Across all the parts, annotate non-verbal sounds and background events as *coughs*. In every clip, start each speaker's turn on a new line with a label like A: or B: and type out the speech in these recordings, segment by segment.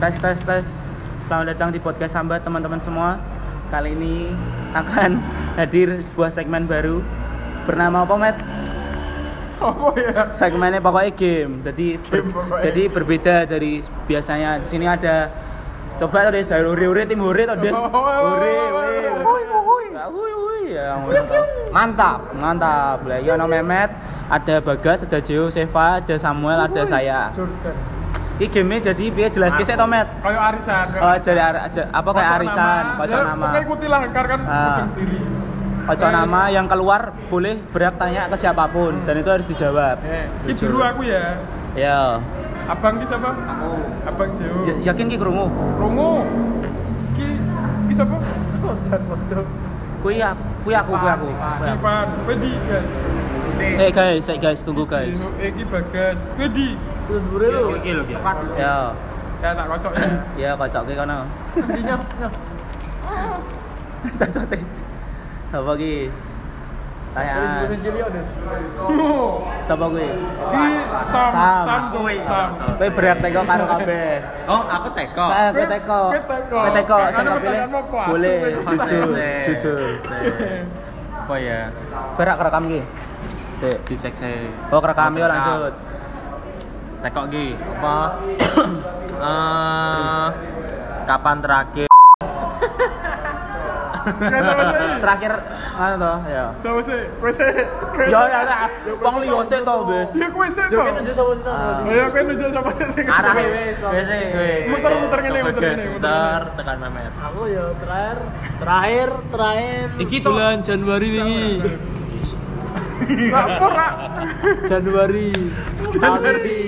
A: Tes tes tes. Selamat datang di podcast Sambat teman-teman semua. Kali ini akan *laughs* hadir sebuah segmen baru bernama apa, Matt?
B: Apa ya?
A: Segmennya pokoknya game. Jadi ber-
B: Game pokoknya.
A: jadi berbeda dari biasanya. Di sini ada coba tadi saya uri uri tim uri tadi. Uri
B: Ui, ui.
A: uri. Uri uri.
B: Mantap.
A: Ya, Mantap. Lah iya ono Mehmet, ada Bagas, ada Jeo, Seva, ada Samuel, ada saya.
B: Jordan.
A: Iki game jadi piye jelaske sik to, Met?
B: Kayak arisan. kayak
A: Oh, jadi ar- aja- apa
B: kocok
A: kayak arisan,
B: nama.
A: kocok
B: Ya,
A: nama.
B: Pokoknya ikuti langkar kan
A: Ah.
B: bikin sendiri.
A: Kocok nama yang keluar boleh berhak tanya ke siapapun dan itu harus dijawab.
B: Eh, Ki
A: Jujur.
B: biru aku ya.
A: Ya.
B: Abang ki siapa? Aku. Abang Jeo.
A: Y- Ya, yakin ki krungu?
B: Rungu. Ki ki siapa? Jordan.
A: Kuwi aku, kuwi ya- aku, kuwi aku. Kuwi aku.
B: Ivan. Kowe di guys.
A: Sik guys, sik guys, tunggu guys.
B: Jeo, Eh ki Bagas. Kowe di. Dure
A: Iya,
B: lho. Ki lho ki.
A: Ya.
B: Ya tak kocok
A: *laughs*
B: ya.
A: Ya kocok ki kono. *laughs* Cocote. Sapa ki?
B: Iya,
A: Tanyaan. Sapa kuwi?
B: Oh, Ki Sam
A: Sam.
B: Sam
C: Kowe,
B: Sam.
C: Sam.
A: Kowe berhak teko karo kabeh.
C: Oh, aku teko.
A: Eh, gue teko.
B: Gue teko.
A: Gue teko.
B: Kan
A: Saya
B: ada
A: nggak pilih.
B: pertanyaan apa, asu,
A: Boleh.
B: gue teko.
A: Jujur.
C: Se.
A: Jujur.
C: Se. Apa ya?
A: Berak rekam gini. Si.
C: Dicek saya.
A: Oh rekam yuk lanjut.
C: Teko ki. Apa? *coughs* Eh, kapan terakhir?
B: Ya,
A: Terakhir mana toh? Ya.
B: Tahu sih, kowe sih. Kowe
A: Ya
B: sih.
A: ya ya. Wong liyo sik to, Bes.
B: Ya kowe sih. Yo kan Ya kowe nunjuk sama sih. sing-
C: Arah
B: Kowe.
C: wis, wis.
B: Muter-muter ngene,
C: Stop,
B: muter
C: guys.
B: ngene, muter
C: Muter
B: ngene.
C: iya. tekan memet.
D: Aku ya terakhir, terakhir, terakhir.
C: Iki to-
D: bulan Januari wingi.
B: Lah ora.
D: Januari. Tahun ini.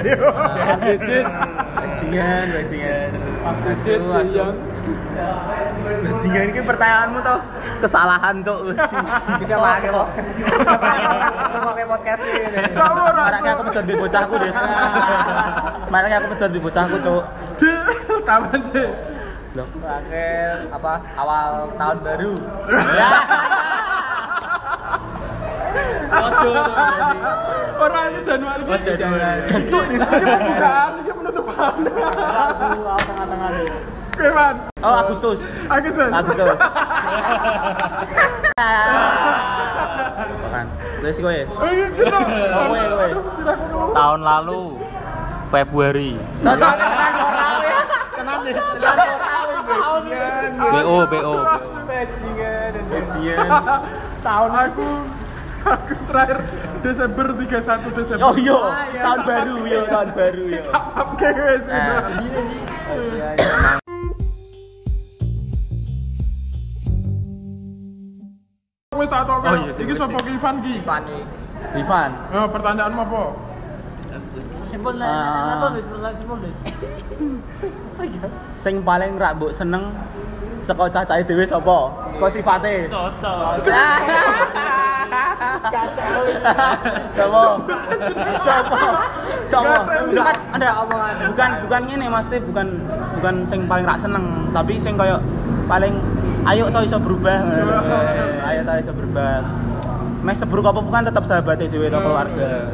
A: Didit. Bajingan, bajingan. Asu, asu.
D: yang
A: Bajingan ini pertanyaanmu toh kesalahan cok. Bisa pakai kok. Pakai podcast ini.
B: Kamu ora,
A: Maraknya
B: Cok.
A: aku pesan di bocahku, Des. *laughs* Maraknya aku pesan di bocahku, Cok.
B: Kapan sih?
A: Loh, terakhir apa? Awal tahun *laughs* baru.
B: Ora iki Januari iki.
C: Januari.
B: Jancuk iki pembukaan, iki penutupan.
D: tengah-tengah nih.
B: Oke, Man.
A: Oh, Agustus.
B: Aku sih.
A: Agustus. Bukan. Terus kowe.
B: Oh, iya, kita.
A: Oh, kowe kowe.
C: Tahun lalu Februari.
A: Cocok tenan ora kowe. Tenan deh. Tenan ora kowe.
C: BO BO.
B: Setahun. Aku aku terakhir Desember 31 Desember.
A: Oh yo, tahun baru yo, tahun baru yo.
B: Oke, wes. gitu.
A: Ah.
B: Wes tak tok
C: Oh,
B: kok.
C: iya,
B: Iki
C: wes,
B: sapa ki Ivan ki?
A: Ivan.
B: Eh, pertanyaanmu apa?
D: Simpel
A: Ah.
D: lah, langsung wis, langsung simpel wis.
A: Sing paling rak mbok seneng saka cacahe dhewe sapa? Saka sifate.
D: Cocok.
A: Sopo? Sopo? Sopo?
B: Gak tahu.
A: Lu kan ada omongan. Bukan bukan ngene maksudnya bukan bukan sing paling rak seneng, tapi sing koyo paling ayo tau iso berubah. Eh, Ayo tau iso berubah. Meh seburuk apa bukan tetap sahabatnya dhewe atau keluarga.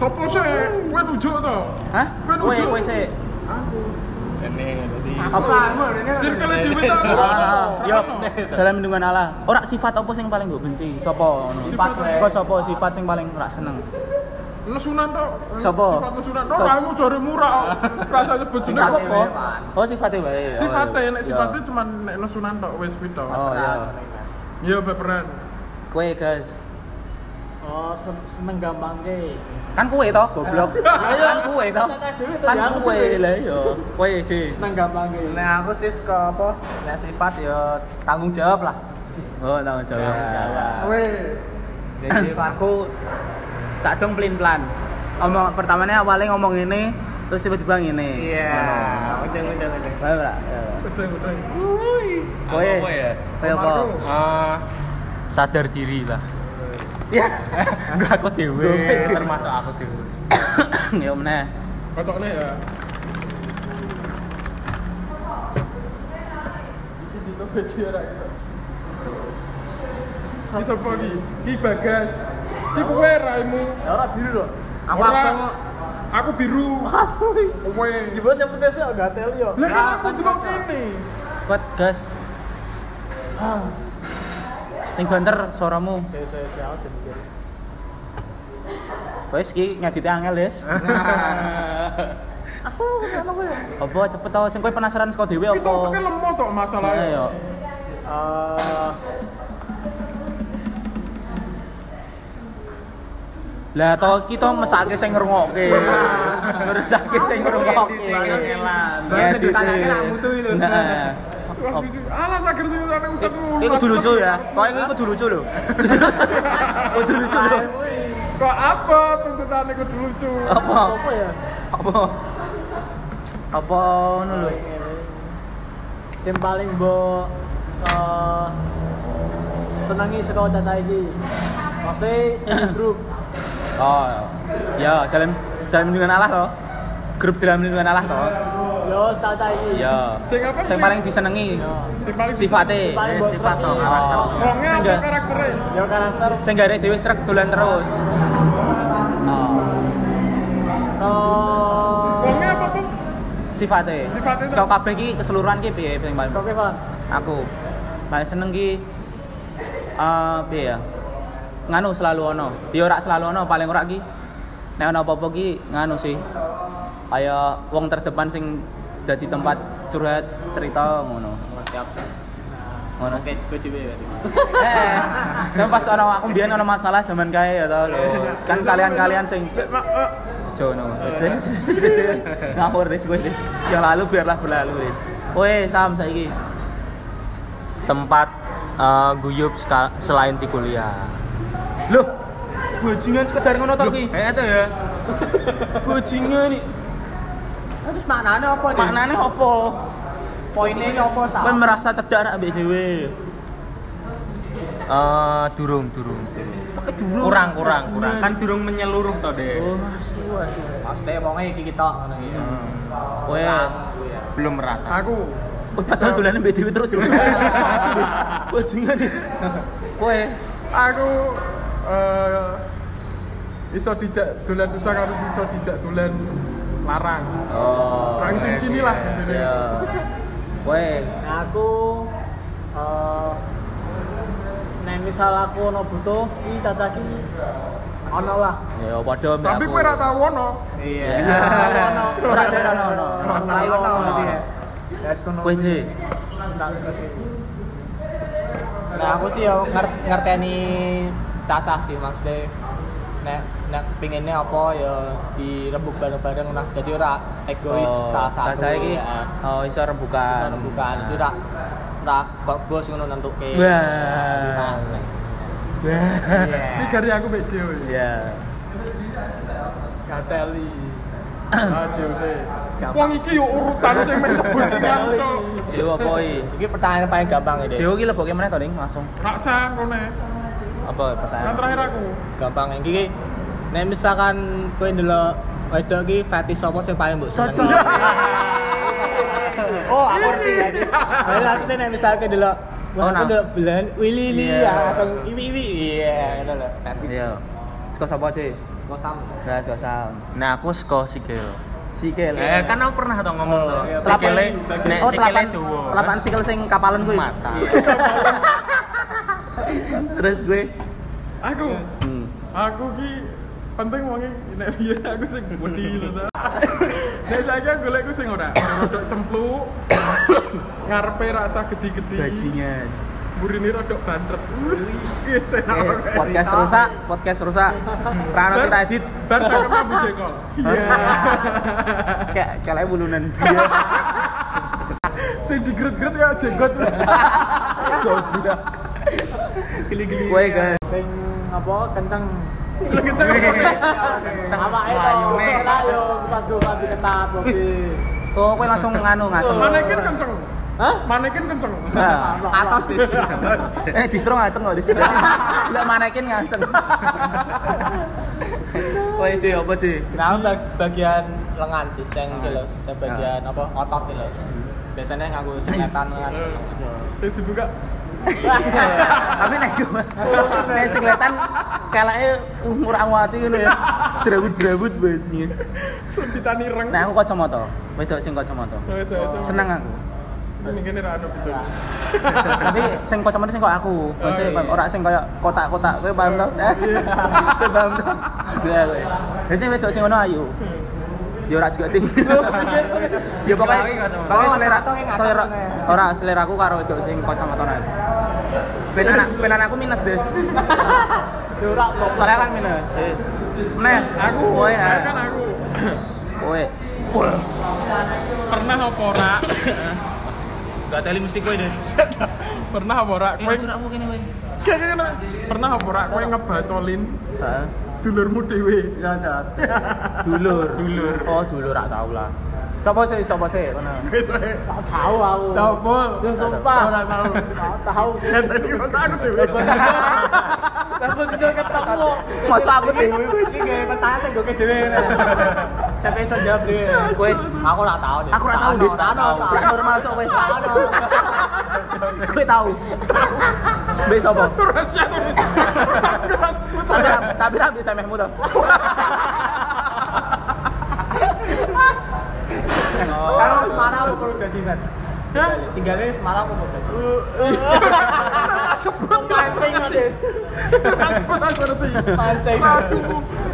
B: Sopo sih? Kowe nujuk to.
A: Hah?
B: Kowe
A: Kowe
B: nujuk.
A: kowe sik.
C: Ini tadi.
B: Circle dhewe to.
A: Ah, Yo, dalam lindungan Allah. Ora sifat apa sing paling gue benci? Sopo ngono?
B: Sifat, eh.
A: Saka sapa sifat sing paling rak seneng?
B: Nesunan to.
A: Sopo?
B: Sifat nesunan. Ora
A: Sopo?
B: kamu jare murah. kok. Rasa nyebut jeneng
A: Sifat
B: apa?
A: apa? Oh, sifatnya wae. Oh,
B: Sifatnya,
A: iya.
B: nek
A: Iya.
B: sifatnya cuma nek nesunan tok wis kuwi to.
A: Oh, iya.
B: Iya, beperan.
A: Kowe, guys.
D: Oh, sen- seneng gampang ke.
A: Kan kowe toh
D: *laughs*
A: goblok. kan kowe toh.
D: Cacah dhewe toh,
A: Kan
D: ya, aku
A: kowe
D: dhewe.
A: lah yo. Kowe dhewe.
D: Seneng gampang ke.
E: Nah aku sis ke apa? Nah sifat ya tanggung jawab lah. Nah.
A: Oh, tanggung jawab.
B: Weh.
E: *coughs* Jadi aku
A: Sadung pelin-pelan. Omong pertamanya awalnya ngomong ini, terus tiba-tiba ngene.
E: iya, udah udah udah.
A: Kowe ora? Iya.
B: Udah, udah.
C: Apa
A: Kowe.
C: apa ya?
A: Kowe apa?
C: Eh, sadar diri lah.
A: *coughs* Ya.
C: Enggak aku
A: Gue
C: dewe,
A: dewe.
C: termasuk aku dewe.
A: Ya, Yo meneh.
B: Kocoknya ya. besi ora gitu. Ini sapa iki? Ki Bagas. Ki kowe raimu.
D: Ya ora biru loh.
A: Aku
B: Ora.
A: aku
B: Aku biru.
D: Asli.
B: Kowe.
D: Di bawah saya putih sih enggak tel yo.
B: Lah kan aku cuma kene.
A: kuat gas. Ning banter suaramu.
D: Saya saya saya harus mikir.
A: Wes ki nyadite angel, Des.
D: *laughs* Asu kenapa gue?
A: Apa cepet tau sing kowe penasaran saka dhewe
B: Kita tekan
A: apa? Iya,
B: lemot tok masalahnya.
A: Ayo.
D: Eh
A: Lah to kita mesake sing ngrungokke.
E: *laughs*
A: Ngrusake sing ngrungokke.
E: Iya,
A: Iya,
E: Banget ditanyake nak mutu iki lho.
A: Nah.
B: Terus itu, Alah sager sing utang utang
A: Ini Eh, kudu lucu ya. Kok ini kudu lucu
E: *laughs*
A: lho. Kudu lucu. Kudu lucu lho.
B: Kok apa tuntutan kudu lucu?
A: Apa?
D: sopo ya?
A: Apa? Apa ngono lho?
D: Sing paling bo eh senangi saka caca iki. Pasti sing grup.
A: Oh. Ya, dalam dalam lindungan Allah toh. Grup dalam lindungan Allah toh.
D: Yo caca iki.
A: Ya.
B: Sing apa
A: Sing
B: sih?
A: paling disenengi
D: Yo.
B: Sing paling
A: sifate.
D: Sing paling
E: Eh,
D: bos
E: sifat
D: rek
E: toh,
D: iki.
E: karakter.
B: Wonge
A: Sing
B: apa
A: gak-
B: karaktere?
D: Yo karakter.
A: Sing gare dhewe srek dolan terus. Oh.
B: Wonge
D: Eh
B: apa, Bung?
A: Sifate.
B: Sifate toh.
A: Saka kabeh iki keseluruhan ki piye sing paling-
D: Kok Evan?
A: aku paling seneng ki eh piye ya nganu selalu ono ya ora selalu ono paling ora ki nek ono apa-apa ki nganu sih kaya wong terdepan sing dadi tempat curhat cerita ngono
E: Siap.
A: ngono
E: Oke,
A: sih
E: gue dhewe ya.
A: eh dan pas ono aku mbiyen ono masalah zaman kae ya tau lho
E: Oh.
A: kan kalian-kalian sing
B: Lek, Mak, eh,
A: jono wis
E: iya.
A: wis, wis, wis. ngawur wis kowe wis yang lalu biarlah berlalu wis kowe sam saiki
C: Tempat eh, guyup seka- selain di kuliah.
A: Loh, bajingan sekedar ngono to ki.
C: Eh itu ya.
A: Bajingan iki.
E: Terus maknane apa, Dik?
A: Maknane apa?
E: poinnya ini apa, Sa?
A: Kowe merasa cedak nak mbek dhewe.
C: Eh durung durung. Kurang kurang kurang. Kan durung menyeluruh toh deh.
A: Oh, asu asu.
E: Maksudnya wonge iki kita ngono ya. iki.
A: Kowe
C: Belum merata.
B: Aku.
A: kowe padahal dolane mbek dhewe terus lho. Asu, Dis. Bajingan dis. Kowe
B: Aku eh iso dijak dolan susah karo iso dijak dolan larang.
A: Oh.
B: Serang sing sini lah intinya.
A: Ya. Kowe
D: Nah, aku eh nek misal aku ono butuh ki caca ki ono lah.
A: ya padha mbek
B: Tapi
A: aku.
B: kowe ora tau ono.
E: Iya.
A: *laughs* Ya. Ora ada ono. ono.
D: Ora
E: Ora
D: tau ono
E: tau
D: berarti
E: ono.
D: ya. Ya wis kono.
A: Kowe dhewe.
D: Senang sekali.
E: Nah, aku sih yo nger- ngerteni cacah sih maksudnya nek nek pinginnya apa ya direbuk bareng-bareng nah jadi ora egois salah satu
A: Cacahe Oh, iki
E: ya.
A: oh iso rembukan.
E: bisa rembukan itu ora ora kok bos ngono nentuke Nah,
A: Wah.
E: Mas, nek.
A: Wah.
B: Iki gari aku mbek Jeo.
A: *clears throat* Ya.
D: Gateli.
B: Ah, Jeo sih. Wong iki yo urutan sing meh kebundingan to.
A: Jeo apa iki?
E: Iki pertanyaan paling gampang ini.
A: Jeo iki leboke meneh to ning langsung.
B: Raksa ngene.
A: Apa
B: Yang
A: pertanyaan?
B: terakhir aku.
E: Gampang iki. iki. Nek misalkan kowe ndelok wedok iki fetish apa sing paling mbok senengi?
A: Cocok. Iya.
E: oh, aku ngerti guys. Lah maksudnya nek misalkan kowe ndelok Wah,
A: Oh,
E: aku
A: nah.
E: ndelok belen wili li
A: Iya.
E: ya, langsung iwi-iwi. Iya, ngono lho. Fetish.
A: Iya. Saka sapa, Cek?
E: Kok sama.
A: Nah, saka Sam.
C: Nah aku sko sikil.
A: Sikil. Iya.
C: Eh iya. kan aku pernah tau ngomong toh. Sikile nek
A: Oh,
C: sikile
A: telapan-
C: dawa. *laughs*
A: Telapan sikil sing kapalan kuwi. Iya.
C: mata.
A: Terus gue
B: Aku.
A: hmm.
B: Aku ki penting wong iki nek *laughs* biyen aku sing budi lho
A: *laughs*
B: ta. Nek saiki aku golekku sing ora. Rodok
A: *coughs*
B: cempluk. Ngarepe raksa gedi-gedi.
A: bajingan.
B: Burine rodok bandret. *laughs* Iki
A: Eh,
B: enak banget.
A: podcast rusak, podcast rusak. Prano kita edit
B: Ban cakepnya Bu Jeko.
A: *laughs*
B: Iya.
A: kayak kayak bulunan.
B: Sing digret-gret ya
A: *laughs*
B: jenggot.
A: Goblok. Geli-geli. Gue guys.
D: Sing apa kenceng.
B: Sing kenceng.
D: Apa itu? Ora yo pas gue pasti ketat
A: *laughs*
D: pasti.
A: Oh, gue langsung nganu ngaco.
B: Manekin kenceng.
D: Hah?
B: Manekin kan kenceng.
A: Nah.
E: Atas di sini.
A: Ah.
B: *laughs*
A: Eh, distro ngaceng kok distro. Lah manekin ngaceng. Woi, Ci, apa Ci? Ah.
E: Nah, bag- bagian lengan sih, yang gitu loh, yang bagian apa otot gitu loh. biasanya nganggo senetan kan seneng.
A: Hmm.
B: Eh dibuka.
A: Tapi nek yo. Nek sing kelihatan kelake murah ngati ngono ya. Jerawut-jerawut bajingan.
B: Sunditani reng.
A: Nah aku kacamata. Wedok sing kacamata.
B: Oh, itu, itu.
A: Seneng Nah. aku.
B: Ini kene ra ono bijak.
A: Tapi sing kacamata sing kok aku. Maksudnya
B: Oh, iya.
A: ora sing koyo kotak-kotak kowe paham to? *laughs* Kowe paham to? Lah kowe. Biasane wedok sing ngono ayu. Ya ora juga *laughs* ting. Ya pokoke
C: Dilawangi kacamata.
A: pokoke selera
E: Oh, kacamata
A: selera
E: kene.
A: ora seleraku karo wedok sing kacamata ayu. Ben anak ben anakku minus, Des.
D: Ora kok.
A: Soalnya kan minus, Des. Nah,
B: Aku,
A: kowe ha.
B: kan aku
A: Kowe.
B: pernah apa ora?
A: Gak teli mesti kowe, Des.
B: pernah apa ora? Kowe
A: curakmu kene kowe.
B: Gak, gak, gak. pernah apa ora? Kowe ngebacolin
A: Heeh.
B: dulurmu dhewe.
A: Dulur. Dulur. Oh, dulur rak tau lah. Sopo sih, sopo sih? Kono.
D: Gak tahu aku.
B: Tahu pol.
D: Ya sumpah.
B: Ora tahu.
D: Gak tahu.
B: Ya tadi masa aku dhewe.
D: Aku tidur ketemu.
A: Masa aku dewe kowe
E: Iki gak pertanyaan sing gue dhewe. Cek iso jawab dhewe.
A: Kowe
E: Aku ora tau deh.
A: aku ora tahu Des.
E: Ora tau.
A: Gak normal sok kowe. Kowe tahu. Mbek sapa?
B: Rahasia aku.
A: Tapi ra- tapi ra bisa mehmu to.
E: Kalau Semarang aku perlu dadi kan.
B: Hah?
E: Tinggalnya Semarang aku perlu dadi.
B: Tak sebut.
D: Pancing Des.
B: Tak sebut aku ngerti.
D: Pancing.
B: Aku